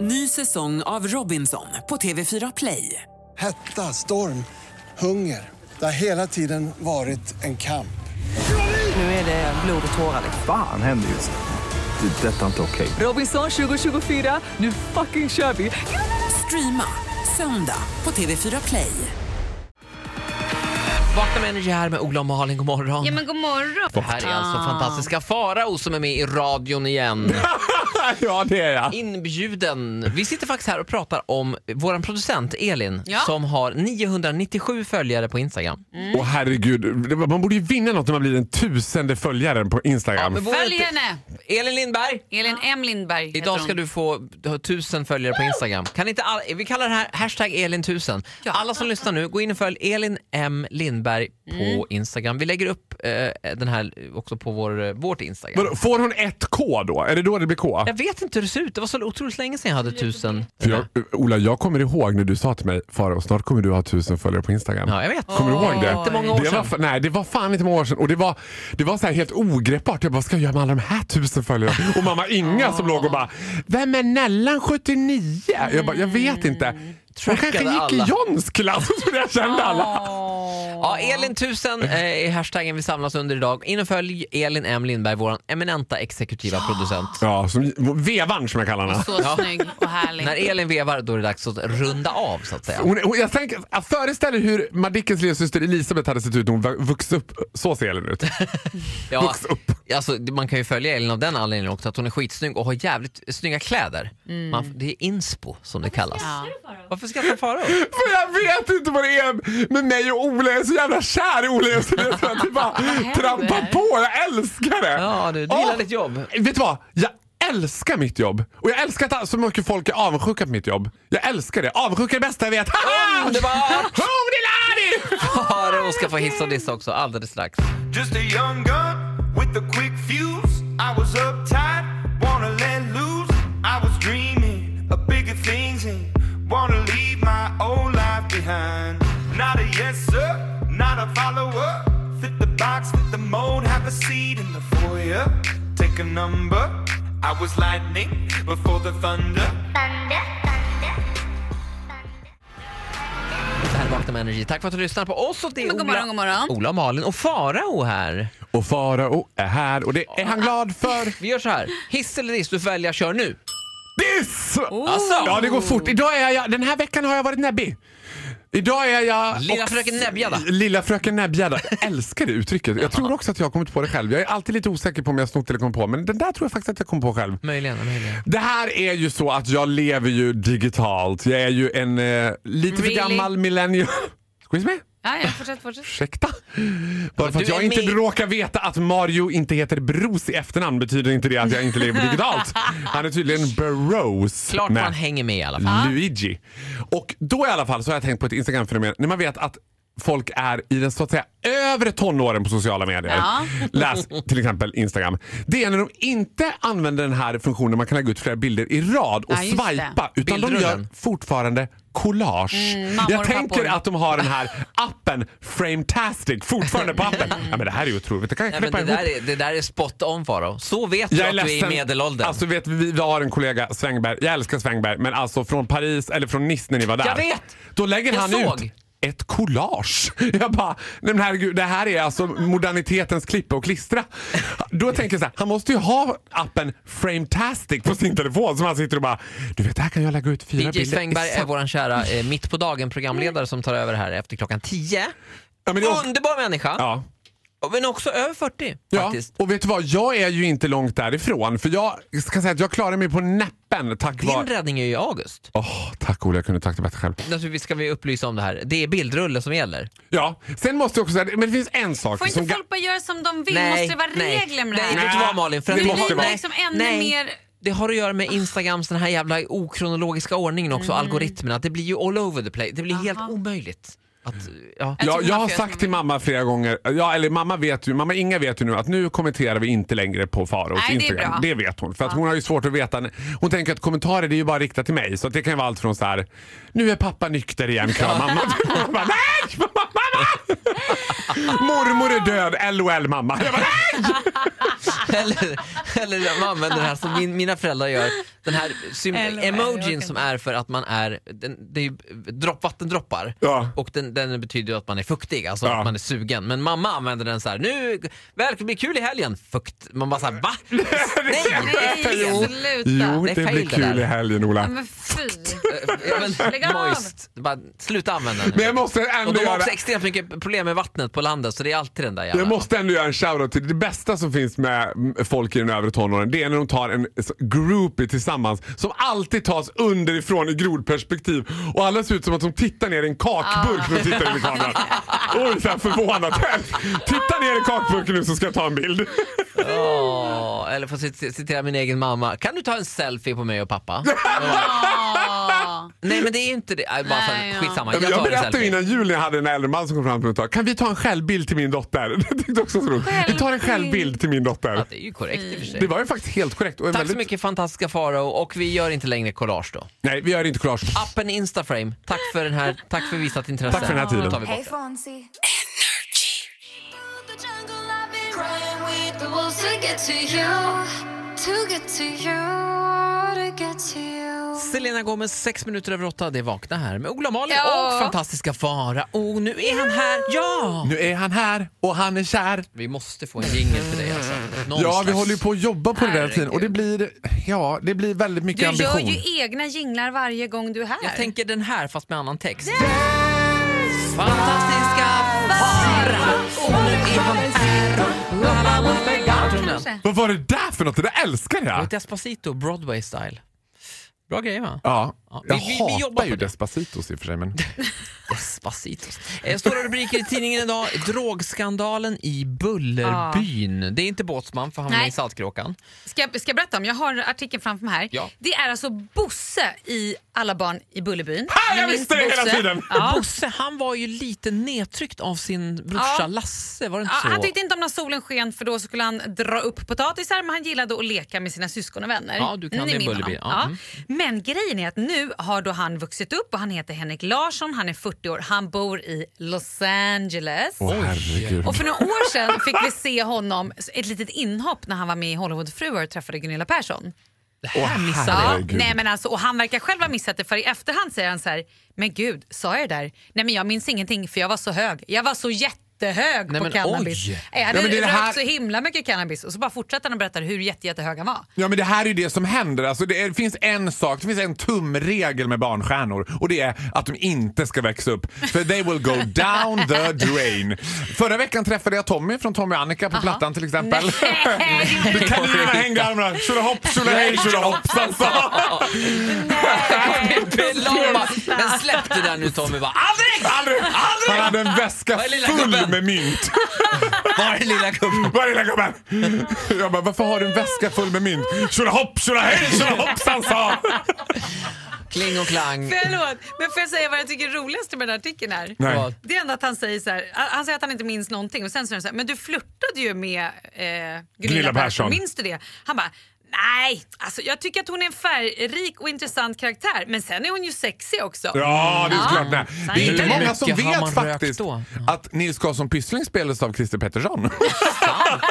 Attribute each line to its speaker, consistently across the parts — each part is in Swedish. Speaker 1: Ny säsong av Robinson på TV4 Play.
Speaker 2: Hetta, storm, hunger. Det har hela tiden varit en kamp.
Speaker 1: Nu är det blod och tårar.
Speaker 3: Fan händer just nu. Det. är Detta är inte okej.
Speaker 1: Robinson 2024, nu fucking kör vi! Streama söndag på TV4 Play.
Speaker 4: Vakna med Energy här med Ola och Malin, god morgon.
Speaker 5: Ja men god morgon.
Speaker 4: Det här är alltså fantastiska Farao som är med i radion igen.
Speaker 6: Ja, det är jag.
Speaker 4: Inbjuden. Vi sitter faktiskt här och pratar om vår producent Elin
Speaker 5: Ja. Mm.
Speaker 4: som har 997 följare på Instagram.
Speaker 6: Åh herregud, Det var- man borde ju vinna något när man blir den tusende följaren på Instagram.
Speaker 4: men vår-
Speaker 5: Följ henne!
Speaker 4: Elin Lindberg!
Speaker 5: Elin M Lindberg heter
Speaker 4: Idag ska
Speaker 5: hon.
Speaker 4: du få ha 1000 följare på Instagram. Kan inte all, vi kallar det här hashtag Elin1000. Alla som lyssnar nu, gå in och följ Elin M Lindberg på
Speaker 5: Mm.
Speaker 4: Instagram. Vi lägger upp eh, den här också på vår, eh, vårt Instagram.
Speaker 6: Vadå, Får hon ett K då? Är det då det blir K?
Speaker 4: Jag vet inte hur det ser ut. Det var så otroligt länge sedan jag hade 1000.
Speaker 6: För jag, eh, Ola, jag kommer ihåg när du sa till mig Farao, snart kommer du ha tusen följare på Instagram.
Speaker 4: Ja, jag vet.
Speaker 6: Kommer du ihåg det?
Speaker 4: Inte många år
Speaker 6: det var,
Speaker 4: sedan.
Speaker 6: fa- nej, det var fan inte många år sedan. Och det var, det var så här helt ogreppbart. Jag bara, vad ska jag göra med alla de här tusen följarna? Och mamma Inga som låg och bara, vem är Nellan 79? Jag bara, jag vet inte. Hon kanske
Speaker 4: Trackade
Speaker 6: gick
Speaker 4: alla.
Speaker 6: i Johns klass och trodde jag kände alla.
Speaker 4: Ja, Elin1000 eh, är hashtaggen vi samlas under idag. In och följ Elin M Lindberg, vår eminenta exekutiva producent.
Speaker 6: Ja, som, vevan som jag kallar henne.
Speaker 5: Så snygg och härlig.
Speaker 4: När Elin vevar då är det dags att runda av så att säga.
Speaker 6: Hon, hon, jag, tänker, jag föreställer hur Madickens lillasyster Elisabeth hade sett ut när hon va- vuxit upp. Så ser Elin ut.
Speaker 4: Ja,
Speaker 6: Vuxit upp.
Speaker 4: alltså, man kan ju följa Elin av den anledningen också att hon är skitsnygg och har jävligt snygga kläder.
Speaker 5: Mm.
Speaker 4: Man, det är inspo som det kallas. Varför skrattar Farao?
Speaker 6: För jag vet inte vad det är med mig och Ola. Jag är så jävla kär i Ola just nu. Så att det bara trampar på. Jag älskar det.
Speaker 4: Ja, du, du gillar
Speaker 6: Åh,
Speaker 4: ditt jobb.
Speaker 6: Vet du vad? Jag älskar mitt jobb. Och jag älskar att så mycket folk är avundsjuka på mitt jobb. Jag älskar det. Avundsjuka är det bästa jag vet. Haha!
Speaker 4: Underbart!
Speaker 6: Hodelari!
Speaker 4: Farao ska få hissa och dissa också alldeles strax.
Speaker 7: Just a young gun with a quick fuse. I was uptight, wanna let loose. I was dreaming of bigger things and wanna leave my old life behind. Not a yes sir, not a follower. Fit the box, fit the mold, have a seat in the foyer. Take a number. I was lightning before the thunder.
Speaker 4: Det här är Vakna med Energy. Tack för att du lyssnar på oss och det är
Speaker 5: Men god morgon, god
Speaker 4: Ola,
Speaker 5: morgon.
Speaker 4: Ola Malin och Farao här.
Speaker 6: Och Farao är här och det är han glad för.
Speaker 4: Ah, Vi gör så här. Hiss eller diss, du får välja. Kör nu.
Speaker 6: Diss! Ja, det går fort. Idag är jag, den här veckan har jag varit näbbig. Idag är jag...
Speaker 4: Lilla
Speaker 6: och-
Speaker 4: fröken Näbbgädda.
Speaker 6: Lilla fröken Näbbgädda. Jag älskar det uttrycket. Jag tror också att jag har kommit på det själv. Jag är alltid lite osäker på om jag har snott eller kom på, men den där tror jag faktiskt att jag kom på själv.
Speaker 4: Möjligen, möjligen.
Speaker 6: Det här är ju så att jag lever ju digitalt. Jag är ju en eh, lite
Speaker 5: Really?
Speaker 6: för gammal millennial. Squeeze me?
Speaker 5: Ja, ja, fortsätt, fortsätt.
Speaker 6: Ursäkta? Bara för
Speaker 4: du
Speaker 6: att jag
Speaker 4: är
Speaker 6: inte
Speaker 4: med-
Speaker 6: råkar veta att Mario inte heter Bros i efternamn betyder inte det att jag inte lever digitalt. Han är tydligen Burrows.
Speaker 4: Klart
Speaker 6: Nej.
Speaker 4: man hänger med i alla fall.
Speaker 6: Luigi. Och då i alla fall så har jag tänkt på ett Instagram-fenomen. När man vet att folk är i den så att säga övre tonåren på sociala medier.
Speaker 5: Ja.
Speaker 6: Läs till exempel Instagram. Det är när de inte använder den här funktionen man kan lägga ut flera bilder i rad och
Speaker 5: Ja, just det.
Speaker 6: swipa. Utan de gör
Speaker 4: Bildrullen.
Speaker 6: fortfarande collage.
Speaker 5: mammor
Speaker 6: jag
Speaker 5: och
Speaker 6: tänker
Speaker 5: pappor.
Speaker 6: att de har den här appen Frametastic fortfarande på appen. Ja, men det här är ju otroligt. Det kan jag
Speaker 4: Nej, men
Speaker 6: klippa
Speaker 4: det,
Speaker 6: ihop.
Speaker 4: där är, det där är spot on Farao. Så vet du
Speaker 6: Jag
Speaker 4: att du är i medelåldern.
Speaker 6: Alltså vet vi, vi har en kollega, Svängberg. Jag älskar Svängberg, men alltså från Paris eller från Nice när ni var där.
Speaker 4: Jag vet!
Speaker 6: Då lägger
Speaker 4: Jag
Speaker 6: han
Speaker 4: såg.
Speaker 6: ut ett collage. Jag bara, nej men herregud, det här är alltså modernitetens klippa och klistra. Då tänker jag så här, han måste ju ha appen Frametastic på sin telefon som han sitter och bara, du vet det här kan jag lägga ut fina
Speaker 4: DJ
Speaker 6: bilder.
Speaker 4: Svängberg är
Speaker 6: Exakt.
Speaker 4: vår kära eh, mitt på dagen programledare som tar över här efter klockan 10.
Speaker 6: Ja, men det är också-
Speaker 4: Underbar människa,
Speaker 6: Ja.
Speaker 4: Och men också över 40
Speaker 6: Ja,
Speaker 4: faktiskt.
Speaker 6: och vet du vad? Jag är ju inte långt därifrån för jag ska säga att jag klarar mig på näppen tack
Speaker 4: Din
Speaker 6: vare...
Speaker 4: räddning är ju i August.
Speaker 6: Åh, tack Ola, jag kunde tacka bättre själv.
Speaker 4: Naturligtvis ska vi upplysa om det här. Det är bildrulle som gäller.
Speaker 6: Ja, sen måste jag också säga, men det finns en sak
Speaker 5: Får
Speaker 6: som...
Speaker 5: inte
Speaker 6: ga-
Speaker 5: folk bara göra som de vill?
Speaker 4: Nej,
Speaker 5: Måste det vara
Speaker 4: nej,
Speaker 5: regler med det
Speaker 4: nej,
Speaker 5: här?
Speaker 4: vet du vad Malin? För att
Speaker 6: Det
Speaker 5: det
Speaker 4: vi
Speaker 6: måste
Speaker 4: har-
Speaker 5: blir
Speaker 6: vara.
Speaker 5: bara liksom ännu
Speaker 4: nej.
Speaker 5: mer...
Speaker 4: Det har att göra med Instagrams den här jävla okronologiska ordningen också,
Speaker 5: Mm.
Speaker 4: algoritmerna. Det blir ju all over the place. Det blir helt omöjligt. Att, ja.
Speaker 6: Ja,
Speaker 5: tror
Speaker 6: jag
Speaker 5: man
Speaker 6: har
Speaker 5: får
Speaker 6: sagt
Speaker 5: göra
Speaker 6: till mamma flera gånger, ja, eller mamma vet ju, mamma Inga vet ju nu att nu kommenterar vi inte längre på Faros
Speaker 5: Nej, det är
Speaker 6: Instagram.
Speaker 5: bra.
Speaker 6: Det vet hon. För att hon har ju svårt att veta. Hon tänker att kommentarer det är ju bara riktat till mig. Så att det kan ju vara allt från så här, nu är pappa nykter igen, kram mamma. Jag bara, Nej! Mamma! Mormor är död, LOL mamma. Jag bara, nej!
Speaker 4: eller, eller man använder den här som min, mina föräldrar gör. Den här sym-
Speaker 5: Eller- eller,
Speaker 4: emojin
Speaker 5: okej.
Speaker 4: som är för att man är, den, det är ju dropp, vattendroppar
Speaker 6: Ja.
Speaker 4: och den, den betyder ju att man är fuktig, alltså
Speaker 6: Ja.
Speaker 4: att man är sugen. Men mamma använder den så här, nu, välkommen, bli kul i helgen, fukt. Man bara såhär, va? Nej,
Speaker 5: Nej,
Speaker 4: det är fel.
Speaker 5: sluta.
Speaker 6: Jo,
Speaker 4: det är
Speaker 6: det
Speaker 4: fail
Speaker 6: blir
Speaker 4: det
Speaker 6: kul
Speaker 4: där.
Speaker 6: i helgen
Speaker 5: Ja,
Speaker 6: Ola.
Speaker 5: Men fy.
Speaker 4: Ja, men,
Speaker 5: Lägg av.
Speaker 4: moist. Bara, sluta använda den.
Speaker 6: Men jag måste
Speaker 4: Och
Speaker 6: ändå
Speaker 4: de har
Speaker 6: göra...
Speaker 4: också extremt mycket problem med vattnet på landet så det är alltid den där jävla...
Speaker 6: Jag måste ändå göra en shoutout till det bästa som finns med mm, folk i den övre tonåren. Det är när de tar en s- groupie tillsammans som alltid tas underifrån i grodperspektiv. Och alla ser ut som att de tittar ner i en kakburk när de tittar in i kameran.
Speaker 4: Ah.
Speaker 6: Oj, så här förvånat. Titta ner i kakburken nu så ska jag ta en bild.
Speaker 4: Ja, eller för att cit- citera min egen mamma. Kan du ta en selfie på mig och pappa?
Speaker 5: Ja.
Speaker 4: Nej men det är ju inte det. Nej, bara för,
Speaker 5: Nej, ja.
Speaker 4: Skitsamma,
Speaker 6: Jag,
Speaker 4: jag tar en
Speaker 6: berättade ju
Speaker 4: selfie.
Speaker 6: innan jul när jag hade en äldre man som kom fram till mig och sa Kan vi ta en självbild till min dotter? Det tyckte jag också så roligt. Vi tar en självbild till min dotter.
Speaker 4: Ja, det är ju korrekt i och för sig.
Speaker 6: Det var ju faktiskt helt korrekt. Och en
Speaker 4: Tack
Speaker 6: väldigt...
Speaker 4: så mycket fantastiska Farao och vi gör inte längre collage då.
Speaker 6: Nej, vi gör inte collage.
Speaker 4: Appen Instaframe, tack för, den här, tack för visat intresse.
Speaker 6: Tack för den här tiden.
Speaker 4: Då tar vi bort
Speaker 8: Hey
Speaker 4: det.
Speaker 8: Fonzie.
Speaker 9: the jungle, I've been crying with the wolves to get to you, to get to you, to get to you.
Speaker 4: Selena Gomez, sex minuter över åtta, det är Vakna här med Ola Malin
Speaker 5: Ja.
Speaker 4: och fantastiska Farao. Och nu är han här, ja!
Speaker 6: Nu är han här och han är kär.
Speaker 4: Vi måste få en jingel till dig alltså. Någon
Speaker 6: Ja, vi
Speaker 4: slags-
Speaker 6: håller ju på att jobba på det där
Speaker 4: Herregud.
Speaker 6: tiden och det blir, ja, det blir väldigt mycket
Speaker 5: Du gör
Speaker 6: ambition.
Speaker 5: ju egna jinglar varje gång du är här.
Speaker 4: Jag tänker den här fast med annan text. Fantastiska fara Och nu är han här La, la, la, la, gardonen.
Speaker 5: Kanske.
Speaker 6: Vad var det där för något? Det där älskar
Speaker 4: Det var
Speaker 6: jag!
Speaker 4: ett Despacito Broadway style. Bra grej va?
Speaker 6: Ja,
Speaker 4: Ja, vi-
Speaker 6: jag
Speaker 4: vi- vi jobbar
Speaker 6: hatar
Speaker 4: på
Speaker 6: ju
Speaker 4: det.
Speaker 6: Despacitos i och för sig men...
Speaker 4: Despacito. Eh, Stora rubriker i tidningen idag. Drogskandalen i Bullerbyn. Det är inte Båtsman för han var
Speaker 5: Nej.
Speaker 4: i Saltkråkan.
Speaker 5: Ska, jag- ska jag berätta om? Jag har artikeln framför mig här.
Speaker 4: Ja.
Speaker 5: Det är alltså Bosse i Alla barn i Bullerbyn.
Speaker 6: Ah, jag
Speaker 5: Ni minns
Speaker 6: visste det hela
Speaker 5: Bosse.
Speaker 6: tiden!
Speaker 5: Ja.
Speaker 4: Bosse han var ju lite nedtryckt av sin brorsa
Speaker 5: Ja.
Speaker 4: Lasse, var det
Speaker 5: Ja,
Speaker 4: inte så?
Speaker 5: han tyckte inte om när solen sken för då skulle han dra upp potatisar men han gillade att leka med sina syskon och vänner.
Speaker 4: Ja, du kan
Speaker 5: Ni
Speaker 4: din
Speaker 5: minns
Speaker 4: Bullerby.
Speaker 5: honom.
Speaker 4: Ja,
Speaker 5: Ja.
Speaker 4: mm.
Speaker 5: Men grejen är att nu har då han vuxit upp och han heter Henrik Larsson, han är 40 år, han bor i Los Angeles.
Speaker 6: Åh herregud.
Speaker 5: Och för några år sedan fick vi se honom, ett litet inhopp när han var med i Hollywoodfruar och träffade Gunilla Persson.
Speaker 6: Åh
Speaker 5: Ja,
Speaker 6: herregud.
Speaker 5: nej men alltså, och han verkar själv ha missat det för i efterhand säger han så här, men gud, sa jag det där? Nej men jag minns ingenting för jag var så hög. Jag var så jättehög
Speaker 4: Nej,
Speaker 5: på
Speaker 4: men
Speaker 5: cannabis.
Speaker 4: oj.
Speaker 5: Jag hade
Speaker 6: Nej, men det är det
Speaker 5: rökt
Speaker 6: här-
Speaker 5: så himla mycket cannabis och så bara fortsatte han att berätta hur jätte, jättehög han var.
Speaker 6: Ja men det här är ju det som händer. Alltså, det, är, det finns en sak, det finns en tumregel med barnstjärnor och det är att de inte ska växa upp. För they will go down the drain. Förra veckan träffade jag Tommy från Tommy och Annika på Plattan till exempel.
Speaker 5: Nej,
Speaker 6: Det Kaninerna hängde i armarna. Tjolahopp, tjolahej, tjolahoppsan sa
Speaker 4: Belama. Men släpp det där nu Tommy. Bara, aldrig!
Speaker 6: Aldrig, aldrig! Han hade en väska
Speaker 4: Var är lilla
Speaker 6: full
Speaker 4: gubben?
Speaker 6: med mynt.
Speaker 4: Var är lilla gubben?
Speaker 6: Var är lilla gubben? Jag bara, varför har du en väska full med mynt? Tjolahopp, tjolahej, tjolahoppsan sa
Speaker 4: Kling och klang.
Speaker 5: Förlåt, men får jag säga vad jag tycker är roligast med den här artikeln är?
Speaker 6: Nej.
Speaker 4: Vad?
Speaker 5: Det är ändå att han säger så här, han säger att han inte minns någonting och sen säger han så här, men du flörtade ju med eh,
Speaker 6: Gunilla
Speaker 5: Gunilla
Speaker 6: Persson.
Speaker 5: Persson, minns du det? Han bara, nej, alltså jag tycker att hon är en färgrik och intressant karaktär men sen är hon ju sexig också.
Speaker 6: Ja, det är
Speaker 5: Ja.
Speaker 6: klart det. Det är inte
Speaker 4: Ah, Hur
Speaker 6: många
Speaker 4: mycket
Speaker 6: som
Speaker 4: har
Speaker 6: vet
Speaker 4: man rökt
Speaker 6: faktiskt
Speaker 4: då?
Speaker 6: att Nils Karlsson Pyssling spelades av Christer Pettersson.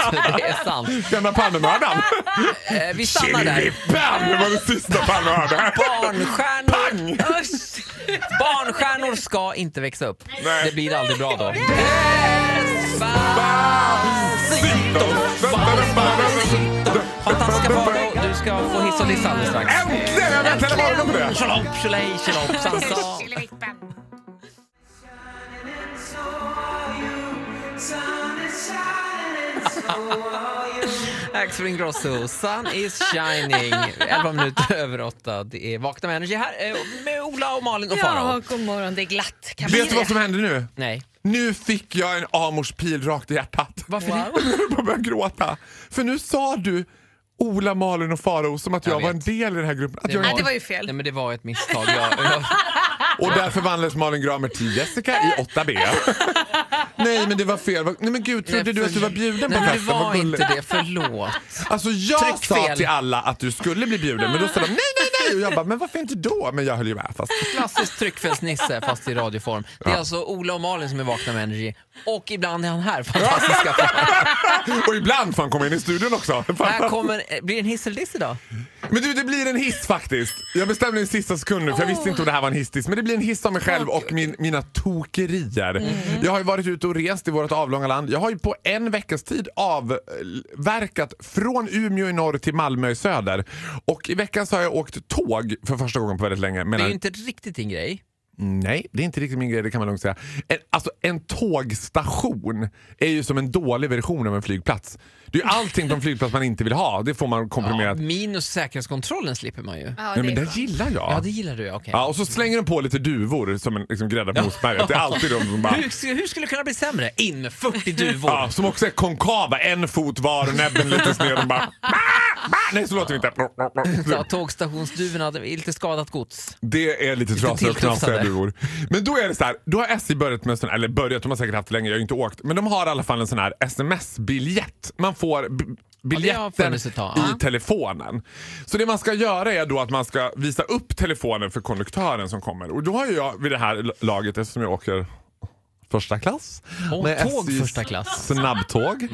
Speaker 4: Sant, det är sant.
Speaker 6: Gamla Palmemördaren.
Speaker 4: Eh, Vi stannar där.
Speaker 6: Bam! Det var den sista Palmemördaren.
Speaker 4: Barnstjärnor,
Speaker 5: Usch.
Speaker 4: barnstjärnor ska inte växa upp.
Speaker 6: Nej.
Speaker 4: Det blir aldrig bra då. Fantastiska Farao, du ska få hiss och diss alldeles strax.
Speaker 6: Äntligen! Jag väntade bara på det.
Speaker 4: Tjolahopp, tjolahej, tjolahoppsan sa. Axel Ingrosso, Sun is shining. 11 minuter över åtta. Det är Vakna med Energy här eh, med Ola och Malin och
Speaker 5: Ja,
Speaker 4: Farao.
Speaker 5: god morgon, det är glatt. Kan man
Speaker 6: Vet du
Speaker 5: säga.
Speaker 6: vad som hände nu?
Speaker 4: Nej.
Speaker 6: Nu fick jag en Amors pil rakt i hjärtat. Varför det? Jag började gråta. För nu sa du Ola, Malin och Faro som att jag,
Speaker 4: Jag
Speaker 6: var en
Speaker 4: vet.
Speaker 6: del i den här gruppen. Att jag
Speaker 5: Nej,
Speaker 6: var...
Speaker 5: det var ju fel.
Speaker 4: Nej, men det var ett misstag. Jag, jag,
Speaker 6: Och där förvandlades Malin Gramer till Jessica i 8B. Nej men det var fel. Va- Nej men gud, trodde du att du var bjuden
Speaker 4: Nej,
Speaker 6: på
Speaker 4: men det
Speaker 6: festen? Vad
Speaker 4: var
Speaker 6: gulligt.
Speaker 4: inte det. Förlåt.
Speaker 6: Alltså jag sa
Speaker 4: Tryckfel.
Speaker 6: till alla att du skulle bli bjuden men då sa de nej, nej, nej. Och jag bara, men varför inte då? Men jag höll ju med fast.
Speaker 4: Klassisk tryckfelsnisse fast i radioform. Det är alltså Ola och Malin som är Vakna med Energy och ibland är han här, fantastiska fan.
Speaker 6: Och ibland får han komma in i studion också.
Speaker 4: Här kommer, eh, blir det en hiss eller diss idag?
Speaker 6: Men du, det blir en hiss faktiskt. Jag bestämde i sista sekunden för jag visste inte om det här var en hissdiss. Men det blir en hiss av mig själv och min, mina tokerier.
Speaker 4: Mm.
Speaker 6: Jag har ju varit ute och rest i vårt avlånga land. Jag har ju på en veckas tid avverkat från Umeå i norr till Malmö i söder. Och i veckan så har jag åkt tåg för första gången på väldigt länge.
Speaker 4: Det är
Speaker 6: Mellan...
Speaker 4: ju inte riktigt din grej.
Speaker 6: Nej, det är inte riktigt min grej, det kan man lugnt säga. En, alltså en tågstation är ju som en dålig version av en flygplats. Det är ju allting på en flygplats man inte vill ha. Det får man komprimerat.
Speaker 4: Minus säkerhetskontrollen slipper man ju.
Speaker 5: Ja,
Speaker 6: Nej, men
Speaker 5: det är
Speaker 6: det
Speaker 5: skönt.
Speaker 6: gillar jag.
Speaker 4: Ja, det gillar du ja, okej.
Speaker 6: Ja, och så slänger de på lite duvor som en liksom, grädda på ostberget. Det är alltid de som bara...
Speaker 4: Hur, sk- hur skulle det kunna bli sämre? In med 40 duvor.
Speaker 6: Ja, som också är konkava, en fot var och näbben lite sned. De bara... "Bah, bah." Nej, så låter vi
Speaker 4: Ja,
Speaker 6: inte.
Speaker 4: tågstationsduvorna, det är lite skadat gods.
Speaker 6: Det är lite trasiga och knasiga
Speaker 4: tilltufsade.
Speaker 6: duvor. Men då är det så här, då har SJ börjat med en sån här, eller börjat, de har säkert haft det länge, jag har ju inte åkt. Men de har i alla fall en sån här sms-biljett. Man får b-
Speaker 4: det har
Speaker 6: biljetten
Speaker 4: funnits ett tag, ja.
Speaker 6: i telefonen. Så det man ska göra är då att man ska visa upp telefonen för konduktören som kommer. Och då har ju jag vid det här laget, eftersom jag åker första klass.
Speaker 4: Åh, tåg
Speaker 6: SJs
Speaker 4: första klass. Mm.
Speaker 6: Snabbtåg.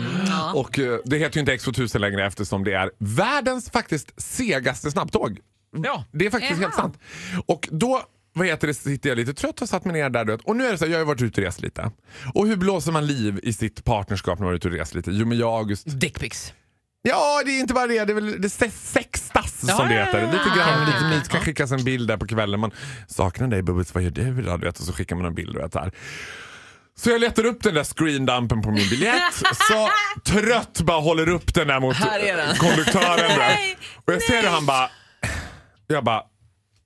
Speaker 6: Och eh, det heter ju inte X2000 längre eftersom det är världens faktiskt segaste snabbtåg.
Speaker 4: Ja.
Speaker 6: Det är faktiskt
Speaker 5: Jaha.
Speaker 6: helt sant. Och då vad heter det, sitter jag lite trött och satt mig ner där. Du vet. Och nu är det så här, jag har ju varit ute och rest lite. Och hur blåser man liv i sitt partnerskap när man är ute och reser lite? Jo men jag och August.
Speaker 4: Dickpics.
Speaker 6: Ja det är inte bara det, det är väl det se- sextas
Speaker 4: Ja,
Speaker 6: som det
Speaker 4: ja, ja,
Speaker 6: heter.
Speaker 4: ja.
Speaker 6: Lite grann, lite mysigt. Kan skickas en bild där på kvällen. Man saknar dig Bubbis, vad gör du idag? Du vet, och så skickar man en bild. Du vet, så här. Så jag letar upp den där screendumpen på min biljett. Så trött bara håller upp den där mot
Speaker 4: Här är den.
Speaker 6: konduktören. där.
Speaker 5: Nej,
Speaker 6: och jag ser hur han bara... Jag bara...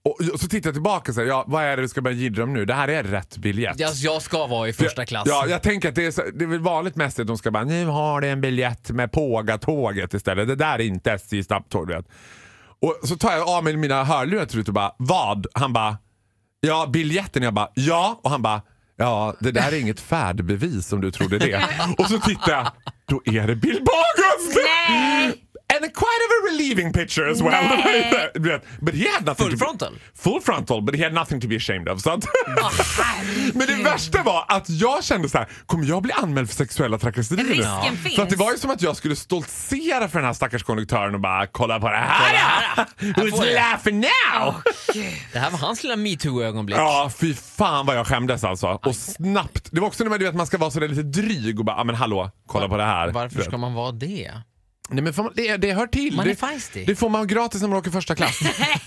Speaker 6: Och och så tittar jag tillbaka och säger, ja, vad är det vi ska börja jiddra om nu? Det här är rätt biljett.
Speaker 4: Jag, alltså, jag ska vara i första klass.
Speaker 6: Ja, jag tänker att det är, så- det är väl vanligt mest att de ska bara nu har det en biljett med Pågatåget istället. Det där är inte SJ snabbtåg du vet. Och så tar jag av mig mina hörlurar till slut och bara vad? Han bara ja biljetten. Jag bara ja och han bara ja det där är inget färdbevis om du trodde det. och så tittar jag då är det Bill Bagus!
Speaker 5: Nej!
Speaker 6: And quite of a relieving picture as well.
Speaker 5: Nej.
Speaker 6: Du vet, But he had nothing
Speaker 4: Full
Speaker 6: to be-
Speaker 4: frontal.
Speaker 6: Full frontal, but he had nothing to be ashamed of. Så att
Speaker 5: herregud.
Speaker 6: Men det värsta var att jag kände så här: kommer jag bli anmäld för sexuella trakasserier nu?
Speaker 5: Risken
Speaker 6: Ja.
Speaker 5: finns.
Speaker 6: För att det var ju som att jag skulle stoltsera för den här stackars konduktören och bara kolla på det här! ja!
Speaker 4: får
Speaker 6: Who's
Speaker 4: jag.
Speaker 6: laughing now?
Speaker 4: Det här var hans lilla metoo-ögonblick.
Speaker 6: Ja, fy fan vad jag skämdes alltså. Och snabbt. Det var också när man, du vet, man ska vara sådär lite dryg och bara, ah, men hallå, kolla på det här. Du
Speaker 4: Varför
Speaker 6: vet.
Speaker 4: ska man vara det?
Speaker 6: Nej, men får man, det, det hör till.
Speaker 4: Man är
Speaker 6: det,
Speaker 4: feisty.
Speaker 6: det får man gratis när man åker första klass.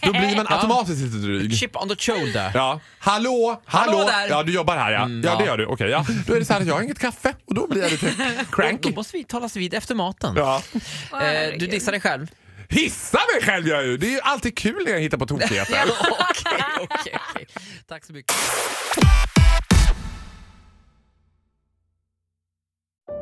Speaker 6: Då blir man
Speaker 4: Ja.
Speaker 6: automatiskt lite dryg.
Speaker 4: Chip on the shoulder.
Speaker 6: Ja. Hallå, hallå,
Speaker 4: Hallå där.
Speaker 6: Ja, du jobbar här ja.
Speaker 4: Mm,
Speaker 6: ja, det
Speaker 4: ja.
Speaker 6: gör du. Okej, ja. Då är det så här att jag har inget kaffe och då blir jag lite
Speaker 4: Då
Speaker 6: cranky.
Speaker 4: måste vi talas vid efter maten.
Speaker 6: Ja.
Speaker 5: Åh,
Speaker 4: Eh, du
Speaker 5: herregud.
Speaker 4: dissar dig själv.
Speaker 6: Hissa mig själv gör jag ju! Det är ju alltid kul när jag hittar på tokigheter.
Speaker 4: Ja, Okej, okej, okej. Tack så mycket.